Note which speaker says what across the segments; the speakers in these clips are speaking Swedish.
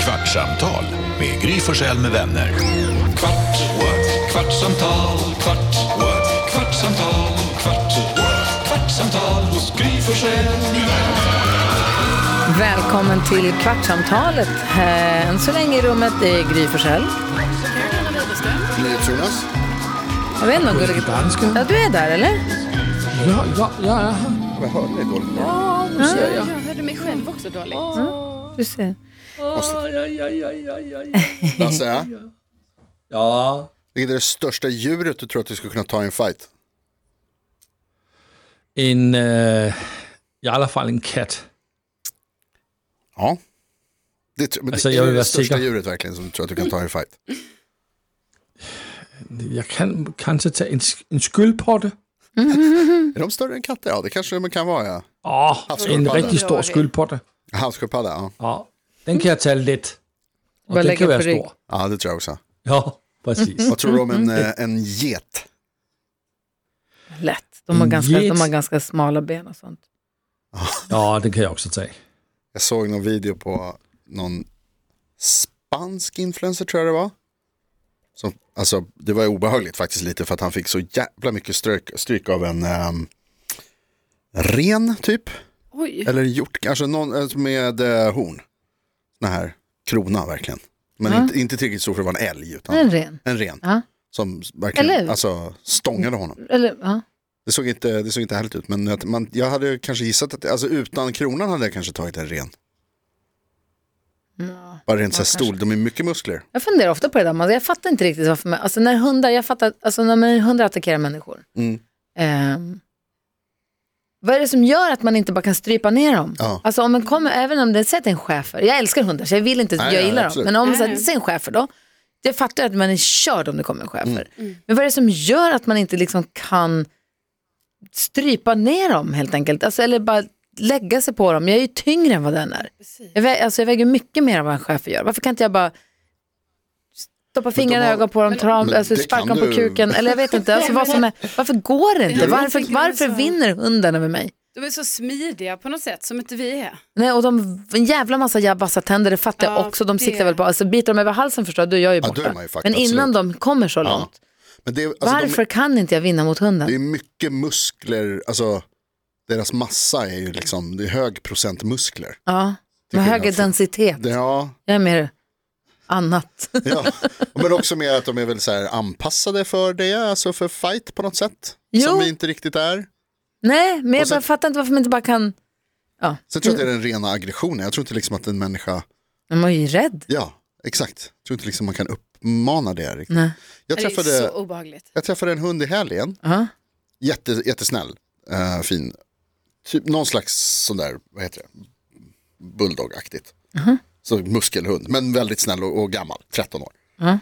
Speaker 1: Kvartsamtal med Gry Forssell med vänner. Kvart, what? kvartsamtal, kvart, what? kvartsamtal, kvart, what? kvartsamtal hos Gry Forssell med vänner.
Speaker 2: Välkommen till Kvartsamtalet. Eh, Än så länge i rummet är Gry Forssell.
Speaker 3: Jonas.
Speaker 2: Jag vet inte om Gullige Ja, du är där eller?
Speaker 4: Ja, ja, ja.
Speaker 3: Jag hörde dig dåligt.
Speaker 5: Jag hörde mig själv också dåligt.
Speaker 2: Du ser.
Speaker 4: Ja, ja, ja, ja, ja, ja.
Speaker 3: Lasse, ja?
Speaker 4: ja.
Speaker 3: vilket är det största djuret du tror att du skulle kunna ta i en fight?
Speaker 4: En, eh, i alla fall en katt.
Speaker 3: Ja. Det, tr- men
Speaker 4: Alltså,
Speaker 3: det
Speaker 4: jag
Speaker 3: är
Speaker 4: vill
Speaker 3: det
Speaker 4: vara
Speaker 3: största
Speaker 4: säker.
Speaker 3: djuret verkligen som du tror att du kan ta i en fight.
Speaker 4: Jag kan kanske ta en, sk- en sköldpadda.
Speaker 3: Är de större än katter? Ja, det kanske de kan vara, ja.
Speaker 4: Åh, en
Speaker 3: Havssköldpadda.
Speaker 4: riktigt stor sköldpadda.
Speaker 3: Havssköldpadda, ja.
Speaker 4: Ja, den kan jag ta lätt. Och
Speaker 2: Bara
Speaker 4: den
Speaker 2: lägga
Speaker 4: kan vara
Speaker 2: på rygg.
Speaker 4: stor.
Speaker 3: Ja, det tror jag också.
Speaker 4: Ja, precis.
Speaker 3: Vad tror du om en,
Speaker 4: Mm.
Speaker 3: eh, en get?
Speaker 2: Lätt. De har,
Speaker 4: En
Speaker 2: ganska,
Speaker 4: get.
Speaker 2: de har ganska smala ben och sånt.
Speaker 4: Ja, den kan jag också ta.
Speaker 3: Jag såg någon video på någon spansk influencer, tror jag det var. Som, alltså, det var obehagligt faktiskt lite för att han fick så jävla mycket stryk, stryk av en ehm, ren, typ.
Speaker 5: Oj,
Speaker 3: Eller hjort, kanske någon eh, med eh, horn. Den här krona verkligen. Men inte, inte tillräckligt stor för att vara en älg, utan
Speaker 2: En ren.
Speaker 3: en ren.
Speaker 2: Ja.
Speaker 3: Som verkligen
Speaker 2: Eller-
Speaker 3: alltså, stångade honom.
Speaker 2: Eller, ja.
Speaker 3: Det såg inte, det såg inte härligt ut, men att man, jag hade kanske gissat att alltså, utan kronan hade jag kanske tagit en ren. Bara rent så här stor, de är mycket muskler.
Speaker 2: Jag funderar ofta på det där. Man- Jag fattar inte riktigt varför. Man, alltså när hundar, jag fattar, alltså när man- hundar attackerar människor.
Speaker 3: Mm.
Speaker 2: Ehm, vad är det som gör att man inte bara kan strypa ner dem?
Speaker 3: Ja.
Speaker 2: Alltså om man kommer, även om det sätter en schäfer. Jag älskar hundar så jag vill inte,
Speaker 3: Nej,
Speaker 2: jag
Speaker 3: ja,
Speaker 2: gillar dem.
Speaker 3: absolut.
Speaker 2: Men om man
Speaker 5: Nej,
Speaker 2: sätter
Speaker 5: nej.
Speaker 2: sig en schäfer då. Jag fattar att man är körd om det kommer en schäfer.
Speaker 3: Mm.
Speaker 2: Men vad är det som gör att man inte liksom kan strypa ner dem helt enkelt? Alltså, eller bara lägga sig på dem. Jag är ju tyngre än vad den är. Jag, vä- alltså, jag väger mycket mer än vad en chef gör. Varför kan inte jag bara stoppa fingrarna i
Speaker 3: har-
Speaker 2: ögonen på dem, ta dem
Speaker 3: Men
Speaker 2: alltså,
Speaker 3: det
Speaker 2: sparka
Speaker 3: kan
Speaker 2: dem på
Speaker 3: du.
Speaker 2: kuken? Eller jag vet inte. Alltså, vad som är, varför går det inte?
Speaker 5: Jag vet
Speaker 2: Varför,
Speaker 5: inte.
Speaker 2: varför vinner hunden över mig?
Speaker 5: de är så smidiga på något sätt som inte vi är.
Speaker 2: Nej, och de en jävla massa jävla vassa tänder, det fattar jag
Speaker 5: Ja,
Speaker 2: också. De
Speaker 5: det-
Speaker 2: siktar väl på, alltså biter de över halsen förstår jag, då är jag ju
Speaker 3: Ja, då
Speaker 2: borta.
Speaker 3: är man ju fucked,
Speaker 2: Men innan de kommer så
Speaker 3: Ja.
Speaker 2: långt,
Speaker 3: Men det, är- alltså,
Speaker 2: varför kan inte jag vinna mot hunden?
Speaker 3: De, det är mycket muskler, alltså deras massa är ju liksom, det är hög procent muskler.
Speaker 2: Ja,
Speaker 3: Till
Speaker 2: med
Speaker 3: skillnad
Speaker 2: högre
Speaker 3: från-
Speaker 2: densitet.
Speaker 3: Det, ja,
Speaker 2: Jag är mer annat.
Speaker 3: Ja, men också mer att de är väl så här anpassade för det, alltså för fight på något sätt.
Speaker 2: Jo.
Speaker 3: Som vi inte riktigt är.
Speaker 2: Nej, men jag
Speaker 3: sen-
Speaker 2: bara fattar inte varför man inte bara kan... Ja,
Speaker 3: Sen tror jag att det är den
Speaker 5: Mm.
Speaker 3: rena aggressionen. Jag tror inte liksom att en människa,
Speaker 2: man är ju rädd.
Speaker 3: ja, exakt. Jag tror inte liksom man kan uppmana det riktigt.
Speaker 2: Nej.
Speaker 3: Jag
Speaker 5: Det Mm. är
Speaker 3: träffade,
Speaker 5: så obehagligt.
Speaker 3: jag träffade en hund i helgen,
Speaker 2: Ja.
Speaker 3: Jätte, jättesnäll, eh, fin. Typ någon slags sån där, vad heter det, bulldog-aktigt.
Speaker 2: Uh-huh.
Speaker 3: Så muskelhund, men väldigt snäll och, och gammal, 13 år.
Speaker 2: Ja.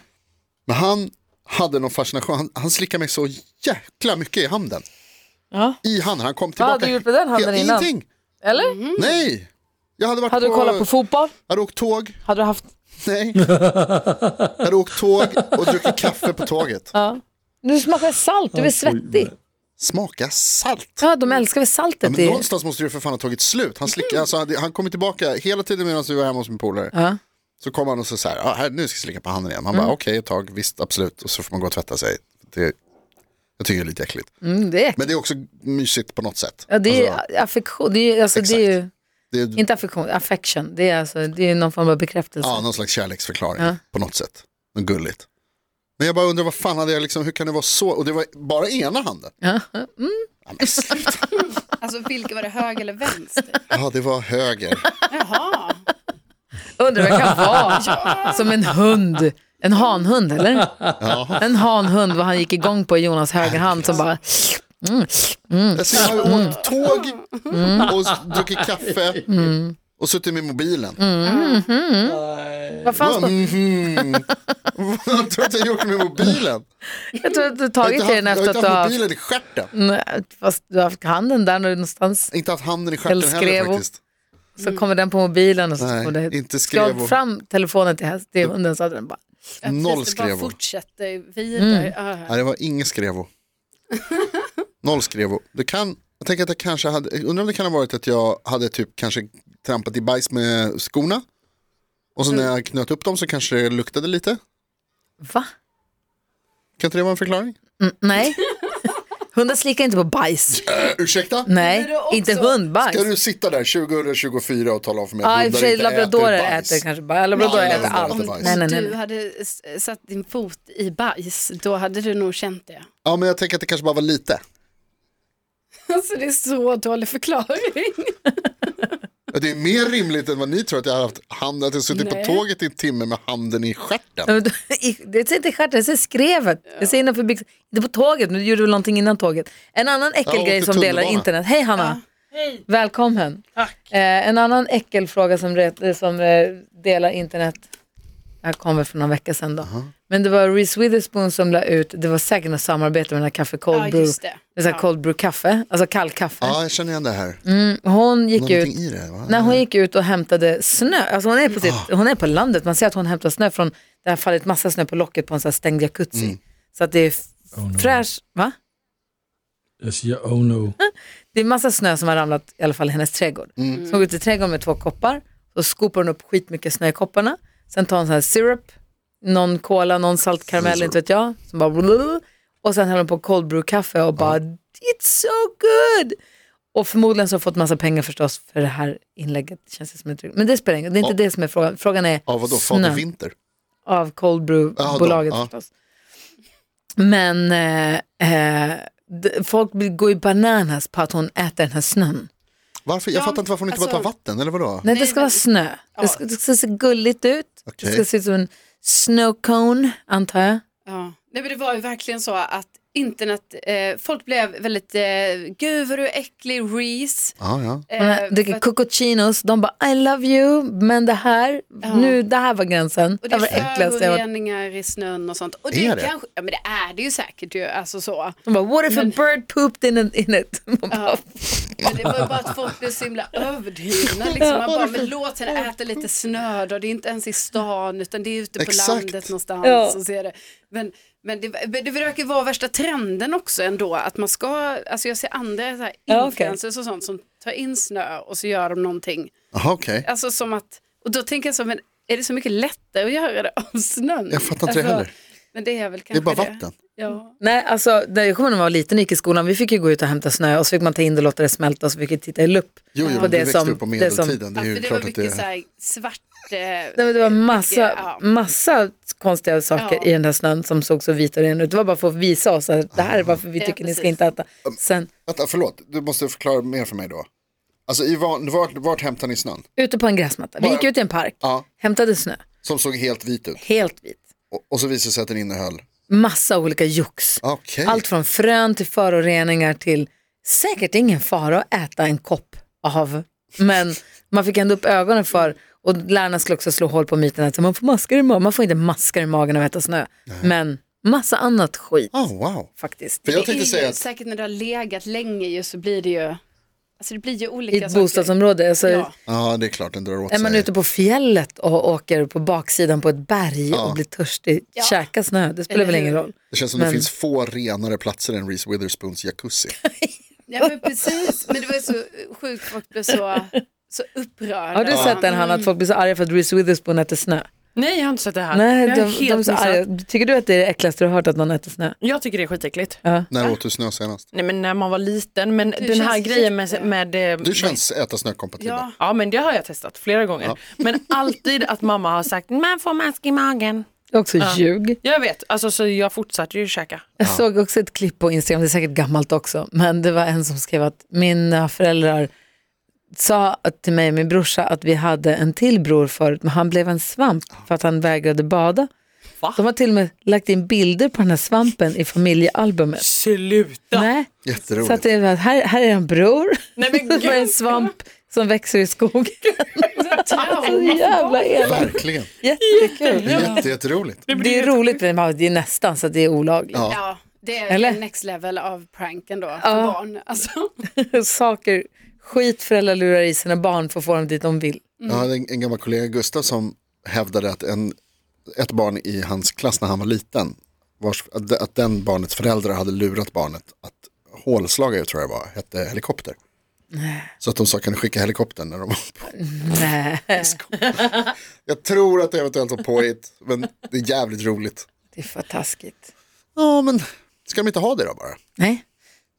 Speaker 3: Men han hade någon fascination, han, han slickade mig så jäkla mycket i handen.
Speaker 2: Ja.
Speaker 3: I handen, han kom
Speaker 2: Vad
Speaker 3: tillbaka.
Speaker 2: hade du gjort med den handen
Speaker 3: Helt-
Speaker 2: innan?
Speaker 3: Ingenting,
Speaker 2: Eller?
Speaker 3: Mm. nej. Jag hade varit
Speaker 2: Hade du
Speaker 3: på,
Speaker 2: kollat på fotboll?
Speaker 3: hade åkt tåg,
Speaker 2: Hade du haft...
Speaker 3: nej. jag hade åkt tåg och druckit kaffe på tåget.
Speaker 2: Du smakar salt, du är svettig.
Speaker 3: Smaka salt.
Speaker 2: Ja, de älskar väl saltet.
Speaker 3: Ja, men
Speaker 2: i-
Speaker 3: någonstans måste det ju för fan ha tagit slut. Han, slickade, alltså, han- han kom ju tillbaka hela tiden medan vi var hemma hos min polare.
Speaker 2: Ja. Mm.
Speaker 3: Så kom han och sa så här, ah, här nu ska jag slicka på handen igen. Han bara okej ett tag, visst absolut. Och så får man gå och tvätta sig. Det, jag tycker det är lite äckligt.
Speaker 2: Mm, det är,
Speaker 3: Men det är också mysigt på något sätt.
Speaker 2: ja, det är
Speaker 3: Alltså,
Speaker 2: affektion, det är, ju- alltså, det är ju,
Speaker 3: det är,
Speaker 2: inte affektion, affection, det är, alltså, det är ju någon form av bekräftelse.
Speaker 3: ja, någon slags kärleksförklaring
Speaker 2: Ja.
Speaker 3: på något sätt. Något gulligt. Men jag bara undrar vad fan hade jag liksom, hur kan det vara så? Och det var bara ena handen.
Speaker 2: Ja.
Speaker 3: Ja, men sluta.
Speaker 5: Alltså vilken var det, höger eller vänster?
Speaker 3: ja det var höger.
Speaker 5: Jaha,
Speaker 2: Undrar vad det kan vara, som en hund, en hanhund eller?
Speaker 3: Ja.
Speaker 2: En hanhund, vad han gick igång på i Jonas högerhand som bara, mm, mm.
Speaker 3: Jag ser, jag har ju åkt tåg och s- druckit kaffe
Speaker 2: Mm.
Speaker 3: och suttit med mobilen.
Speaker 2: vad fan står
Speaker 3: Mhm. Vad tror du att jag gjort med mobilen?
Speaker 2: Jag tror att du har tagit
Speaker 3: Jag har inte
Speaker 2: i den
Speaker 3: haft-
Speaker 2: efter att
Speaker 3: Jag
Speaker 2: du
Speaker 3: har inte haft
Speaker 2: har
Speaker 3: mobilen i stjärten.
Speaker 2: Nej, fast du har haft handen där någonstans.
Speaker 3: Inte haft handen i
Speaker 2: Eller
Speaker 3: stjärten heller
Speaker 2: skrev och-
Speaker 3: faktiskt.
Speaker 2: Så
Speaker 5: Mm.
Speaker 2: kommer den på mobilen och så
Speaker 3: Nej,
Speaker 2: står det.
Speaker 3: inte skrev
Speaker 2: Skrev
Speaker 3: och-
Speaker 2: fram telefonen till, häst, till hunden så hade den bara.
Speaker 5: Ja, precis,
Speaker 3: Noll
Speaker 5: det bara
Speaker 3: skrev hon.
Speaker 5: fortsätter vidare.
Speaker 2: Mm.
Speaker 5: Ja,
Speaker 3: Nej, det var ingen skrevo. Noll skrevo. Det kan, jag tänker att jag kanske hade, undrar om det kan ha varit att jag hade typ kanske trampat i bajs med skorna. Och så när
Speaker 2: Mm.
Speaker 3: jag knöt upp dem så kanske det luktade lite.
Speaker 2: Va?
Speaker 3: Kan inte det vara en förklaring?
Speaker 2: Mm, nej. Hundar slickar inte på bajs.
Speaker 3: Eh, ursäkta?
Speaker 2: Nej,
Speaker 5: Men det är också-
Speaker 2: inte hundbajs.
Speaker 3: Ska du sitta där 2024 och tala om för mig
Speaker 2: Ja,
Speaker 3: att
Speaker 2: i och för
Speaker 3: hundar
Speaker 2: sig
Speaker 3: inte
Speaker 2: labradorer äter,
Speaker 3: bajs?
Speaker 2: kanske bajs. Labradorer
Speaker 3: Nej,
Speaker 2: äter
Speaker 3: labradorer
Speaker 2: allt.
Speaker 3: äter bajs.
Speaker 2: Nej, nej, nej.
Speaker 5: Du hade s- satt din fot i bajs, då hade du nog känt det.
Speaker 3: Ja, men jag tänker att det kanske bara var lite.
Speaker 5: Alltså det är så dålig förklaring.
Speaker 3: Det är mer rimligt än vad ni tror att jag har haft handen, att jag suttit
Speaker 5: Nej.
Speaker 3: på tåget i en timme med handen i stjärten.
Speaker 2: Ja, men då- i- Det ser inte i stjärten, det ser i skrevet. Det ser innanför byxan. Inte på tåget, men du gjorde väl någonting innan tåget. En annan
Speaker 3: Ja,
Speaker 2: äckelgrej
Speaker 3: åkte
Speaker 2: som delar
Speaker 3: tunnelbana.
Speaker 2: internet. Hej Hanna! Välkommen! Eh, en annan äckelfråga som, re- som eh, delar internet. Det här kom väl för någon vecka sedan då. Men det var Reese Witherspoon som la ut, det var säkert något samarbete med den här kaffe Cold
Speaker 5: Ja,
Speaker 2: Brew.
Speaker 5: just det.
Speaker 2: Det är så här cold brew kaffe, alltså kall kaffe.
Speaker 3: Ja, jag känner igen det här.
Speaker 2: Mm, hon gick ut
Speaker 3: Någonting i det, va?
Speaker 2: när hon gick ut och hämtade snö, alltså hon är på, sitt, hon är på landet, man ser att hon hämtar snö från, det har fallit massa snö på locket på en sån här stängd jacuzzi. Så att det är f- fräsch, va?
Speaker 4: Jag säger oh no.
Speaker 2: Det är massa snö som har ramlat i alla fall i hennes trädgård.
Speaker 3: Mm.
Speaker 2: Så hon går ut i trädgården med två koppar, så skopar hon upp skitmycket snö i kopparna, sen tar hon sån här syrup, någon cola, någon salt
Speaker 3: Mm.
Speaker 2: karamell, inte vet jag, som bara blululul. och sen häller hon på cold brew kaffe och bara it's so good! Och förmodligen så har hon fått massa pengar förstås för det här inlägget. Känns det som ett... Men det spelar ingen roll, det är inte det som är frågan. Frågan är
Speaker 3: Ja, vadå,
Speaker 2: snö
Speaker 3: Fader Vinter?
Speaker 2: av Cold Brew-bolaget
Speaker 3: Ja, de, ja.
Speaker 2: förstås. Men eh, eh, d- folk blir- går ju bananas på att hon äter den här snön.
Speaker 3: Varför? Jag
Speaker 5: Ja,
Speaker 3: fattar inte varför hon inte
Speaker 5: alltså-
Speaker 3: bara tar vatten, eller vadå?
Speaker 2: Nej, det ska vara snö. Det, ska, det ska se gulligt ut. Det ska
Speaker 3: Okej.
Speaker 2: se ut som en snow cone, antar
Speaker 5: Eh,
Speaker 2: jag.
Speaker 5: Ja. Nej, men det var ju verkligen så att internet, eh, folk blev väldigt, eh, gud vad du är äcklig, Reese.
Speaker 3: Ja, ja.
Speaker 5: Eh,
Speaker 2: Hon äh, dricker
Speaker 5: vad-
Speaker 2: cocochinos. De bara, I love you, men det här, nu, det här var gränsen. Det,
Speaker 5: och det
Speaker 2: här var det
Speaker 5: är
Speaker 2: äckligaste jag varit.
Speaker 5: föroreningar i snön och sånt. Och det
Speaker 3: Är
Speaker 5: är
Speaker 3: det?
Speaker 5: det? Kanske, ja men det är det ju säkert ju, alltså så.
Speaker 2: De bara, what if a bird pooped in, an- in it? Man bara,
Speaker 5: Men det var ju bara att folk blev så himla överdrivna liksom. Man bara, men låt henne äta lite snö då. Det är inte ens i stan utan det är ute på
Speaker 3: Exakt.
Speaker 5: landet någonstans.
Speaker 2: Ja.
Speaker 5: Och ser det. Men, men det, men det verkar vara värsta trenden också ändå. Att man ska, alltså jag ser andra så här
Speaker 2: Ja, okej.
Speaker 5: influencers och sånt som tar in snö och så gör de någonting.
Speaker 3: Jaha, okej.
Speaker 5: Alltså som att, och då tänker jag så, men är det så mycket lättare att göra det av snön? Alltså,
Speaker 3: Jag fattar inte det heller.
Speaker 5: Men det är väl
Speaker 3: Det är
Speaker 5: kanske
Speaker 3: bara vatten. Mm.
Speaker 5: Ja.
Speaker 2: Nej, alltså när jag kommer när man var liten och gick i skolan, vi fick ju gå ut och hämta snö och så fick man ta in det och låta det smälta och så fick vi titta i lupp.
Speaker 3: Jo, jo,
Speaker 2: på
Speaker 3: men det växte upp på
Speaker 2: det som-
Speaker 3: medeltiden. Det är
Speaker 5: Ja,
Speaker 3: ju
Speaker 5: för det
Speaker 3: klart
Speaker 5: var
Speaker 3: att
Speaker 5: mycket
Speaker 3: det
Speaker 5: så här svart... eh,
Speaker 2: Nej, men det var massa,
Speaker 5: Ja.
Speaker 2: massa konstiga saker
Speaker 5: Ja.
Speaker 2: i den där snön som såg så vit och ren ut. Det var bara för att visa oss att det här är varför vi
Speaker 5: Ja,
Speaker 2: tycker ni ska
Speaker 5: precis.
Speaker 2: inte äta. Sen
Speaker 3: Vänta, förlåt, du måste förklara mer för mig då. Alltså, i van... vart, vart hämtar ni snön?
Speaker 2: ute på en gräsmatta, vi gick ut i en park,
Speaker 3: Ja.
Speaker 2: hämtade snö,
Speaker 3: Som såg helt vit ut.
Speaker 2: helt vit.
Speaker 3: Och, och så visade det sig att den innehöll.
Speaker 2: Massa olika jox.
Speaker 3: Okej.
Speaker 2: Allt från frön till föroreningar till säkert ingen fara att äta en kopp av. Men man fick ändå upp ögonen för, och lärarna skulle också slå hål på myten att man får maskar i magen, man får inte maskar i magen av att äta snö. Men massa annat skit
Speaker 3: Oh, wow.
Speaker 2: faktiskt.
Speaker 3: För jag
Speaker 5: Det är
Speaker 3: tänkte
Speaker 5: ju
Speaker 3: säga att
Speaker 5: säkert när du har legat länge ju så blir det ju, alltså det blir ju olika
Speaker 2: I ett bostadsområde. Alltså,
Speaker 5: Ja.
Speaker 3: ja, det är klart den drar åt
Speaker 2: Är man
Speaker 3: sig.
Speaker 2: ute på fjället och åker på baksidan på ett berg och blir törstig,
Speaker 5: Ja.
Speaker 2: käka snö, det spelar
Speaker 5: Eller
Speaker 2: väl ingen
Speaker 5: hur?
Speaker 2: roll.
Speaker 3: Det känns som det finns få renare platser än Reese Witherspoons jacuzzi.
Speaker 5: Ja men precis, men det var ju så sjukt, folk blev så, så upprörda.
Speaker 2: Har du sett den Hanna, att folk blir så arga för att Reese Witherspoon äter snö?
Speaker 6: Nej, jag har inte sett det här.
Speaker 2: Nej,
Speaker 6: jag har
Speaker 2: de, de är
Speaker 6: helt
Speaker 2: så
Speaker 6: missat.
Speaker 2: arga. Tycker du att det är det äckligaste du har hört att någon äter snö?
Speaker 6: Jag tycker det är skitäckligt.
Speaker 3: När åt du snö senast?
Speaker 6: Nej, men när man var liten, men den här
Speaker 5: känns
Speaker 6: grejen med... med eh,
Speaker 3: Du känns äta snö-kompatibel.
Speaker 5: Ja.
Speaker 6: Ja, men det har jag testat flera gånger. Men alltid att mamma har sagt, man får mask i magen.
Speaker 2: Det är också ljug.
Speaker 6: Jag vet, alltså, så jag fortsatte ju käka.
Speaker 2: Jag såg också ett klipp på Instagram, det är säkert gammalt också, men det var en som skrev att mina föräldrar sa att- till mig och min brorsa att vi hade en till bror förut, men han blev en svamp för att han vägrade bada.
Speaker 6: Va?
Speaker 2: De har till och med lagt in bilder på den här svampen i familjealbumet.
Speaker 6: Sluta!
Speaker 2: Nej.
Speaker 3: Jätteroligt.
Speaker 2: Så att det är, här, här är en bror,
Speaker 6: Nej, men
Speaker 2: det är en
Speaker 6: gud.
Speaker 2: svamp som växer i skogen. Så
Speaker 5: Trauma.
Speaker 2: jävla elakt.
Speaker 3: Verkligen.
Speaker 2: Jättekul.
Speaker 3: Det är jätte, jätteroligt.
Speaker 2: Det är roligt, men det är nästan så att det är olagligt.
Speaker 5: Ja, det är
Speaker 2: Eller?
Speaker 5: next level av pranken då, för barn. Alltså.
Speaker 2: Saker, skit föräldrar lurar i sina barn för att få dem dit de vill.
Speaker 3: Jag hade en, en gammal kollega, Gustav, som hävdade att en, ett barn i hans klass när han var liten, vars, att, de- att den barnets föräldrar hade lurat barnet att hålslagare, tror jag det var, hette helikopter. Så att de sa, kan du skicka helikoptern när de var på?
Speaker 2: Nej,
Speaker 3: Jag tror att det eventuellt var påhitt, men det är jävligt roligt.
Speaker 2: det är för taskigt.
Speaker 3: Ja, men ska de inte ha det då bara?
Speaker 2: Nej,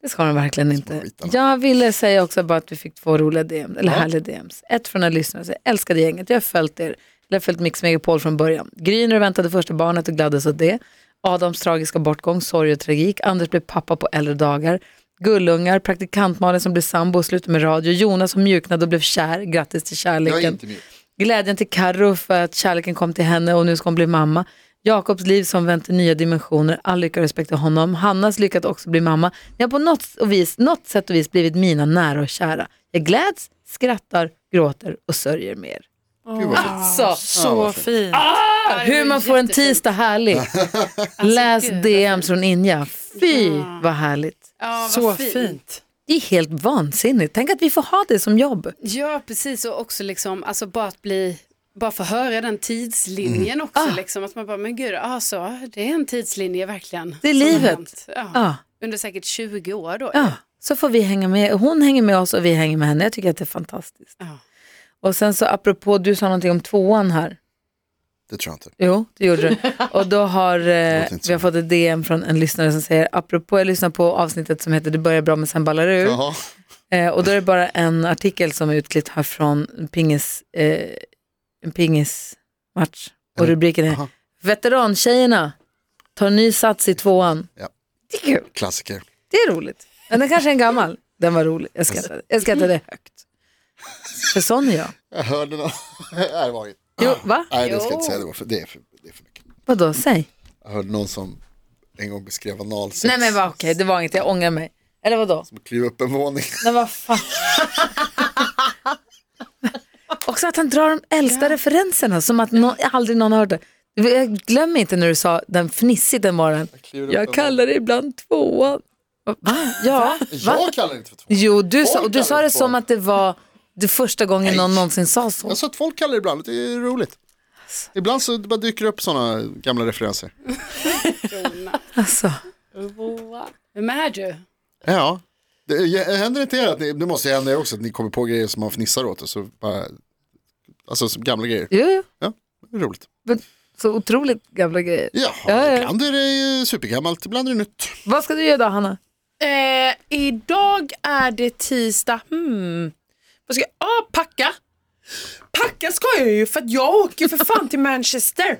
Speaker 2: det ska de verkligen inte.
Speaker 3: bitarna.
Speaker 2: Jag ville säga också bara att vi fick två roliga DM, eller härliga DMs. Ett från en lyssnare, som säger, älskade gänget, jag har följt er, jag har följt Mix Megapol från början. Gry när du väntade första barnet och gladdes åt det. Adams tragiska bortgång, sorg och tragik. Anders blev pappa på äldre dagar. Gullungar, praktikantmalen som blev sambo och slutade med radio. Jonas som mjuknade och blev kär, grattis till kärleken.
Speaker 3: Jag är inte mjuk.
Speaker 2: Glädjen till Karro för att kärleken kom till henne och nu ska hon bli mamma. Jakobs liv som vänt till nya dimensioner, all lycka och respekt till honom. Hannas lycka att också bli mamma. Ni har på något, och vis, något sätt och vis blivit mina nära och kära. Jag gläds, skrattar, gråter och sörjer mer.
Speaker 3: Gud, vad fint.
Speaker 2: Så,
Speaker 6: Så fint.
Speaker 2: hur man får en tisdag härlig.
Speaker 3: Alltså,
Speaker 2: Läs DMs från Inja. Fy vad härligt.
Speaker 5: Ja, vad
Speaker 6: Så
Speaker 5: fint.
Speaker 6: fint.
Speaker 2: Det är helt vansinnigt. Tänk att vi får ha det som jobb.
Speaker 5: Ja, precis. Och också liksom, alltså bara att bli, bara få höra den tidslinjen
Speaker 6: Mm.
Speaker 5: också.
Speaker 6: Ah.
Speaker 5: Liksom, att man bara, men gud, alltså, det är en tidslinje verkligen.
Speaker 2: Det är
Speaker 5: som har
Speaker 2: livet.
Speaker 5: hänt. Ja.
Speaker 6: Ah.
Speaker 2: Ja.
Speaker 5: Under säkert 20 år då.
Speaker 2: Ja, så får vi hänga med. Hon hänger med oss och vi hänger med henne. Jag tycker att det är fantastiskt.
Speaker 5: Ja.
Speaker 2: Och sen så apropå, du sa någonting om tvåan här.
Speaker 3: Det tror jag inte.
Speaker 2: Jo, det gjorde du. Och då har eh,
Speaker 3: låter inte
Speaker 2: vi har
Speaker 3: så.
Speaker 2: fått ett DM från en lyssnare som säger, apropå, jag lyssnar på avsnittet som heter Det börjar bra men sen ballar det ur.
Speaker 3: Jaha,
Speaker 2: Eh, och då är det bara en artikel som är utklippt här från en pingis, eh, en pingismatch. Och rubriken är
Speaker 3: Aha.
Speaker 2: Veterantjejerna tar ny sats i tvåan.
Speaker 3: Ja.
Speaker 2: Det är kul.
Speaker 3: klassiker.
Speaker 2: Det är roligt. Men den kanske är en gammal. Den var rolig. Jag skrattade, jag skrattade högt. För sån är jag.
Speaker 3: Jag hörde något. Nej, det var inget.
Speaker 2: Jo, va?
Speaker 3: Nej, det ska jag inte säga. Det, var för, det, är för, det är för mycket.
Speaker 2: Vadå, säg.
Speaker 3: Jag hörde någon som en gång beskrev analsex.
Speaker 2: Nej men va, okej, det var inget. Jag ångrar mig. Eller vadå?
Speaker 3: Kliv upp en våning.
Speaker 2: Nej vad fan. Också att han drar de äldsta referenserna som att nå- aldrig någon har hört det. Jag glömmer inte när du sa den fnissigt den morgonen.
Speaker 3: kliver upp
Speaker 2: Jag
Speaker 3: en
Speaker 2: kallar det ibland tvåan. Va? Ja, va?
Speaker 3: Jag kallar det inte för två.
Speaker 2: Jo, du sa,
Speaker 3: Folk
Speaker 2: och du sa
Speaker 3: kallar
Speaker 2: det
Speaker 3: det tvåan.
Speaker 2: som att det var det första gången någon någonsin sa så.
Speaker 3: Jag sa att folk kallar det ibland, det är roligt. Ibland så bara dyker det upp sådana gamla referenser.
Speaker 2: Alltså.
Speaker 5: Vem är du?
Speaker 3: Ja, det jag- händer inte er att ni, det måste ju hända er också, att ni kommer på grejer som man fnissar åt och så bara, alltså som gamla grejer.
Speaker 2: Jo, jo.
Speaker 3: Ja, det är roligt.
Speaker 2: Men, så otroligt gamla grejer.
Speaker 3: Ja,
Speaker 2: Ja, ja.
Speaker 3: ibland är det ju supergammalt, ibland är det nytt.
Speaker 2: Vad ska du göra då, Hanna?
Speaker 6: Eh, idag är det tisdag. Hmm. Vad ska jag? Ah, packa. Packa ska jag ju för att jag åker för fan till Manchester.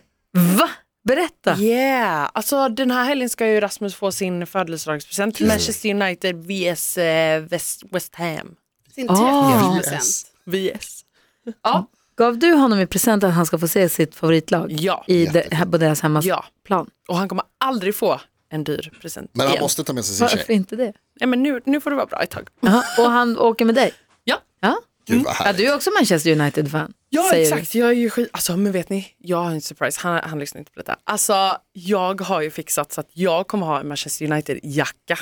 Speaker 2: Va? Berätta.
Speaker 6: Yeah, alltså den här helgen ska ju Rasmus få sin födelsedagspresent. Manchester United vs eh, West, West Ham.
Speaker 5: Sin
Speaker 2: Ah.
Speaker 5: 30
Speaker 3: Yes.
Speaker 6: VS.
Speaker 2: Gav du honom i present att han ska få se sitt favoritlag
Speaker 6: Ja.
Speaker 2: i det, här- på deras
Speaker 6: Ja,
Speaker 2: hemmaplan?
Speaker 6: och han kommer aldrig få en dyr present
Speaker 3: Men han
Speaker 6: igen.
Speaker 3: måste ta med sig sin
Speaker 2: Varför
Speaker 3: tjej.
Speaker 2: inte det?
Speaker 6: Nej men nu, nu får det vara bra ett tag.
Speaker 2: Aha, och han åker med dig?
Speaker 6: Ja.
Speaker 2: Ja,
Speaker 3: Gud vad
Speaker 2: ja
Speaker 3: härligt.
Speaker 2: du är också Manchester United-fan.
Speaker 6: Ja
Speaker 2: säger
Speaker 6: exakt, jag är ju skit... Alltså men vet ni, jag har en surprise. Han, han lyssnar inte på detta. Alltså jag har ju fixat så att jag kommer ha en Manchester United-jacka.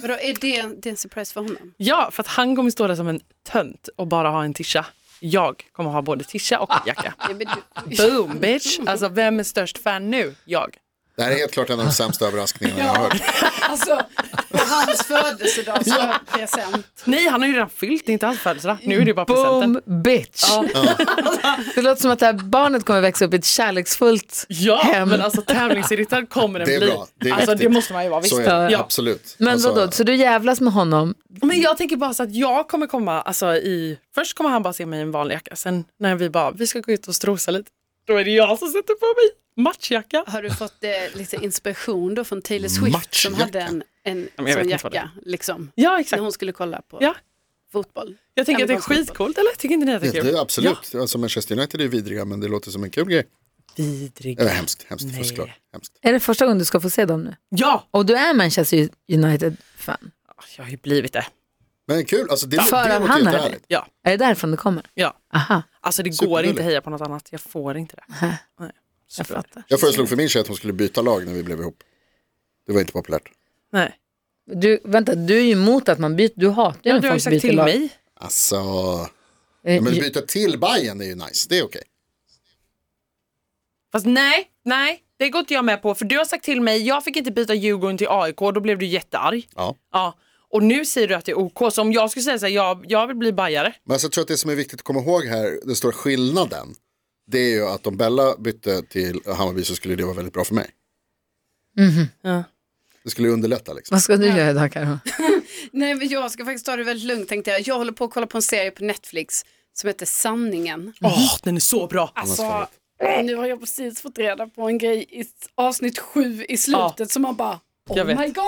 Speaker 5: Vadå, är det, en- det är en surprise för honom?
Speaker 6: Ja, för att han kommer stå där som en tönt och bara ha en tisha. Jag kommer ha både tisha och jacka.
Speaker 5: Ja, men du-
Speaker 6: Boom bitch! Alltså vem är störst fan nu? Jag.
Speaker 3: Det här är helt klart en av de sämsta överraskningarna jag har hört.
Speaker 5: Alltså, på hans födelsedag så har jag present.
Speaker 6: Nej, han har ju redan fyllt, det är inte hans födelsedag. Nu är det bara
Speaker 2: du.
Speaker 6: presenten.
Speaker 2: Boom bitch. det låter som att det här barnet kommer växa upp i ett kärleksfullt
Speaker 6: Ja,
Speaker 2: hem.
Speaker 6: men alltså tävlingsinriktad kommer den
Speaker 3: Det är
Speaker 6: bli.
Speaker 3: bra, det är
Speaker 6: alltså det
Speaker 3: viktigt.
Speaker 6: måste man ju vara, visst.
Speaker 3: Så är det,
Speaker 6: Ja.
Speaker 3: absolut.
Speaker 2: Men
Speaker 3: Alltså,
Speaker 2: vadå, så du jävlas med honom?
Speaker 6: Men jag tänker bara så att jag kommer komma, alltså i, först kommer han bara se mig i en vanlig jacka, sen när vi bara, vi ska gå ut och strosa lite, då är det jag som sätter på mig matchjacka.
Speaker 5: Har du fått eh, lite inspiration då från Taylor Swift som
Speaker 3: Matchjacka.
Speaker 5: hade en, en
Speaker 6: men jag vet
Speaker 5: sån
Speaker 6: inte vad det är.
Speaker 5: jacka? Liksom,
Speaker 6: Ja,
Speaker 5: när
Speaker 6: exakt.
Speaker 5: hon skulle kolla på
Speaker 6: Ja.
Speaker 5: fotboll.
Speaker 6: Jag tänker att det är
Speaker 5: Amerikansk fotboll.
Speaker 6: skitcoolt, eller? Tycker inte ni att det är
Speaker 3: Det
Speaker 6: kul?
Speaker 3: är absolut, alltså Manchester United är vidriga men det låter som en kul grej.
Speaker 6: Vidrig.
Speaker 3: Eller hemskt, hemskt
Speaker 6: Nej.
Speaker 3: såklart. Hemskt.
Speaker 2: Är det första gången du ska få se dem nu?
Speaker 6: Ja!
Speaker 2: Och du är Manchester United-fan?
Speaker 6: Jag har ju blivit det.
Speaker 3: Men kul, alltså det,
Speaker 2: För
Speaker 3: det
Speaker 2: att
Speaker 3: låter
Speaker 2: han
Speaker 3: ju inte
Speaker 2: är
Speaker 3: härligt.
Speaker 6: Ja,
Speaker 2: Är det därifrån det kommer?
Speaker 6: ja.
Speaker 2: Aha,
Speaker 6: Alltså det går
Speaker 3: Superdåligt.
Speaker 6: inte att heja på något annat. Jag får inte det. Nej.
Speaker 2: jag
Speaker 6: Superbra.
Speaker 2: fattar.
Speaker 3: Jag föreslog för min tjej att hon skulle byta lag när vi blev ihop. Det var inte populärt.
Speaker 6: Nej.
Speaker 2: Du, vänta, du är ju emot att man byter, du hatar ju
Speaker 6: Ja,
Speaker 2: när
Speaker 6: du har ju
Speaker 2: folk
Speaker 6: sagt
Speaker 2: byter
Speaker 6: till
Speaker 2: lag.
Speaker 6: mig.
Speaker 3: Alltså,
Speaker 2: Eh,
Speaker 3: ja, men
Speaker 2: j-
Speaker 3: byta till Bayern är ju nice, det är okej.
Speaker 6: Fast nej, nej, det går inte jag med på. För du har sagt till mig, jag fick inte byta Djurgården till AIK, då blev du jättearg.
Speaker 3: Ja.
Speaker 6: Ja. Och nu säger du att det är OK, så om jag skulle säga så här, jag, jag vill bli bajare.
Speaker 3: Men alltså, jag tror att det som är viktigt att komma ihåg här, den stora skillnaden, det är ju att om Bella bytte till Hammarby så skulle det vara väldigt bra för mig.
Speaker 2: Mhm.
Speaker 6: Ja.
Speaker 3: Det skulle ju underlätta liksom.
Speaker 2: Vad ska du göra idag Karo?
Speaker 5: Nej, men jag ska faktiskt ta det väldigt lugnt tänkte jag. Jag håller på att kolla på en serie på Netflix som heter Sanningen.
Speaker 6: Åh, den är så bra!
Speaker 5: Alltså, nu har jag precis fått reda på en grej i s- avsnitt sju i slutet som man bara Oh
Speaker 6: Jag vet.
Speaker 5: my god!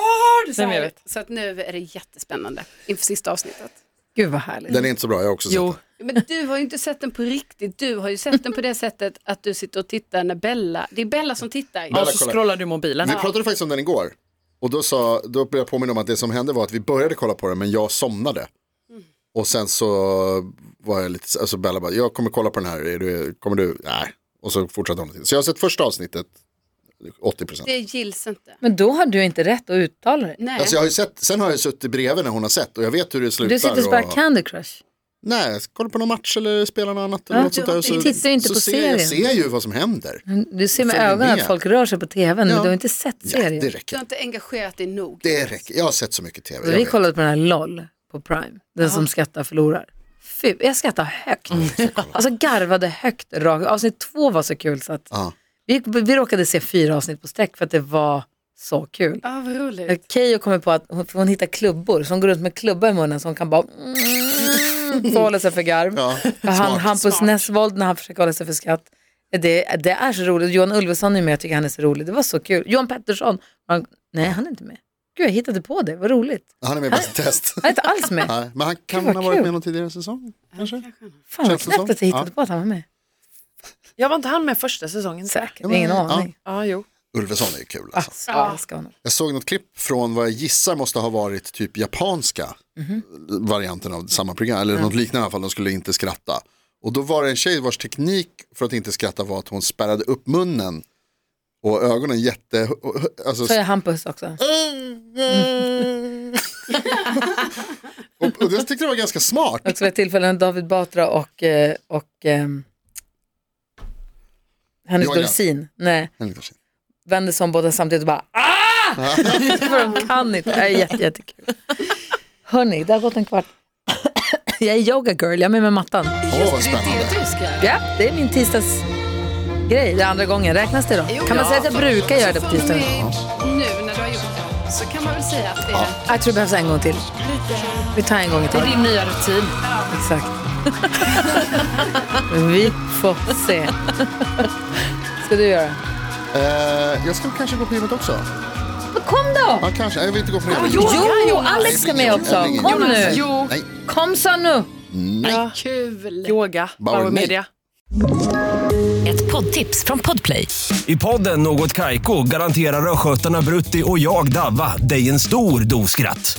Speaker 5: Så,
Speaker 6: Nej, men jag
Speaker 5: här.
Speaker 6: vet.
Speaker 5: så att nu är det jättespännande inför sista avsnittet.
Speaker 2: Gud vad härligt.
Speaker 3: Den är inte så bra, jag har också sett
Speaker 6: Jo,
Speaker 3: den.
Speaker 5: Men du har ju inte sett den på riktigt. Du har ju sett den på det sättet att du sitter och tittar när Bella, det är Bella som tittar.
Speaker 6: och
Speaker 3: Bella,
Speaker 6: så
Speaker 3: kolla.
Speaker 6: scrollar du mobilen.
Speaker 3: Vi pratade faktiskt om den igår. Och då, sa, då blev jag påminna om att det som hände var att vi började kolla på den men jag somnade. Och sen så var jag lite, alltså Bella bara, jag kommer kolla på den här, är du, kommer du, nej. Och så fortsatte hon. Så jag har sett första avsnittet, 80 procent.
Speaker 5: Det gills inte.
Speaker 2: Men då har du inte rätt att uttala dig.
Speaker 5: Nej.
Speaker 3: Alltså jag har ju sett, sen har jag suttit bredvid när hon har sett och jag vet hur det slutar.
Speaker 2: Du sitter och spelar
Speaker 3: och-
Speaker 2: Candy Crush.
Speaker 3: Nej, jag kollar på någon match eller spelar något annat. Eller
Speaker 2: Ja,
Speaker 3: något sånt där, och så,
Speaker 2: du tittar ju inte
Speaker 3: så
Speaker 2: på
Speaker 3: ser jag- Jag
Speaker 2: serien. Mm,
Speaker 3: ser ju vad som händer.
Speaker 2: Du ser med
Speaker 3: Följer
Speaker 2: ögonen
Speaker 3: med.
Speaker 2: att folk rör sig på tvn men
Speaker 3: Ja.
Speaker 2: du har inte sett
Speaker 3: Ja,
Speaker 2: serien. Alltså,
Speaker 3: det
Speaker 5: Du har
Speaker 3: räcker.
Speaker 5: inte engagerat dig nog.
Speaker 3: Det räcker. Jag har sett så mycket tv.
Speaker 2: Så
Speaker 3: jag
Speaker 2: vi
Speaker 3: vet.
Speaker 2: kollade på den här LOL på Prime, den som skrattar förlorar. Fy, jag skrattar högt.
Speaker 3: Mm.
Speaker 2: Alltså garvade högt. Rakt. Avsnitt två var så kul så att
Speaker 3: Ja.
Speaker 2: vi, vi råkade se fyra avsnitt på sträck för att det var så kul.
Speaker 5: Ja, vad roligt.
Speaker 2: Keyyo kommer på att hon, för hon hittar klubbor, så hon går runt med klubba i munnen så hon kan bara mm, få hålla sig för garv.
Speaker 3: Ja,
Speaker 2: För han,
Speaker 3: smart.
Speaker 2: Hampus
Speaker 5: Smart.
Speaker 2: Nessvold när han försöker hålla sig för skratt. Det, det är så roligt. Johan Ulveson är med, jag tycker han är så rolig. Det var så kul. Johan Pettersson, han, nej han är inte med. Gud jag hittade på det, vad roligt.
Speaker 3: Han är med i Bäst i test.
Speaker 2: Han är inte alls med.
Speaker 3: Nej, men han kan
Speaker 2: Gud, vad
Speaker 3: ha varit
Speaker 2: kul.
Speaker 3: med någon tidigare säsong. Kanske?
Speaker 2: Fan vad
Speaker 3: Känns det
Speaker 2: knäppt
Speaker 3: så?
Speaker 2: att jag hittade
Speaker 3: Ja.
Speaker 2: på att han var med.
Speaker 6: Jag var inte han med första säsongen?
Speaker 2: Säkert,
Speaker 3: Ja, men-
Speaker 2: ingen
Speaker 3: ja.
Speaker 2: aning.
Speaker 6: Ja, jo.
Speaker 3: Ulveson är ju kul. Alltså.
Speaker 2: Alltså, jag älskar honom.
Speaker 3: Jag såg något klipp från vad jag gissar måste ha varit typ japanska
Speaker 2: Mhm.
Speaker 3: varianten av samma program. Eller något liknande i alla fall, de skulle inte skratta. Och då var det en tjej vars teknik för att inte skratta var att hon spärrade upp munnen och ögonen jätte... Alltså,
Speaker 2: Så är Hampus också.
Speaker 3: och, och det tyckte jag var ganska smart.
Speaker 2: Också vid ett tillfälle när David Batra och, eh, och ehm, hennes
Speaker 3: Johan Glans.
Speaker 2: dorsin, nej,
Speaker 3: Ja,
Speaker 2: vänder sig om båda samtidigt och bara ah! För de kan inte. Det är jätte, jättekul. Hörni, det har gått en kvart. jag är yoga girl, jag är med med mattan.
Speaker 3: Åh, vad spännande.
Speaker 5: Du ska
Speaker 2: Ja, det är min tisdagsgrej. Det är andra gången. Räknas det då? Kan man säga att jag brukar göra det på
Speaker 5: Från och
Speaker 2: tisdagen?
Speaker 5: med Nu när du har gjort det så kan man väl säga att det är
Speaker 2: Jag tror det behövs en gång till. Vi tar en gång i taget.
Speaker 6: Din nya rutin.
Speaker 2: Exakt. Vi får se. Ska du göra?
Speaker 3: Eh, jag ska kanske gå på gymmet också.
Speaker 2: Men kom då!
Speaker 3: Ja, kanske. Jag vill inte gå på det.
Speaker 2: Jo, Alex ska med också. Kom nu.
Speaker 6: Jo,
Speaker 3: Nej,
Speaker 2: Kom så nu.
Speaker 5: kul.
Speaker 6: yoga,
Speaker 3: Bauer
Speaker 6: Bauer
Speaker 3: Media.
Speaker 6: Media.
Speaker 7: Ett poddtips från Podplay.
Speaker 8: I podden Något Kaiko garanterar östgötarna Brutti och jag, Davva, dig en stor dos skratt.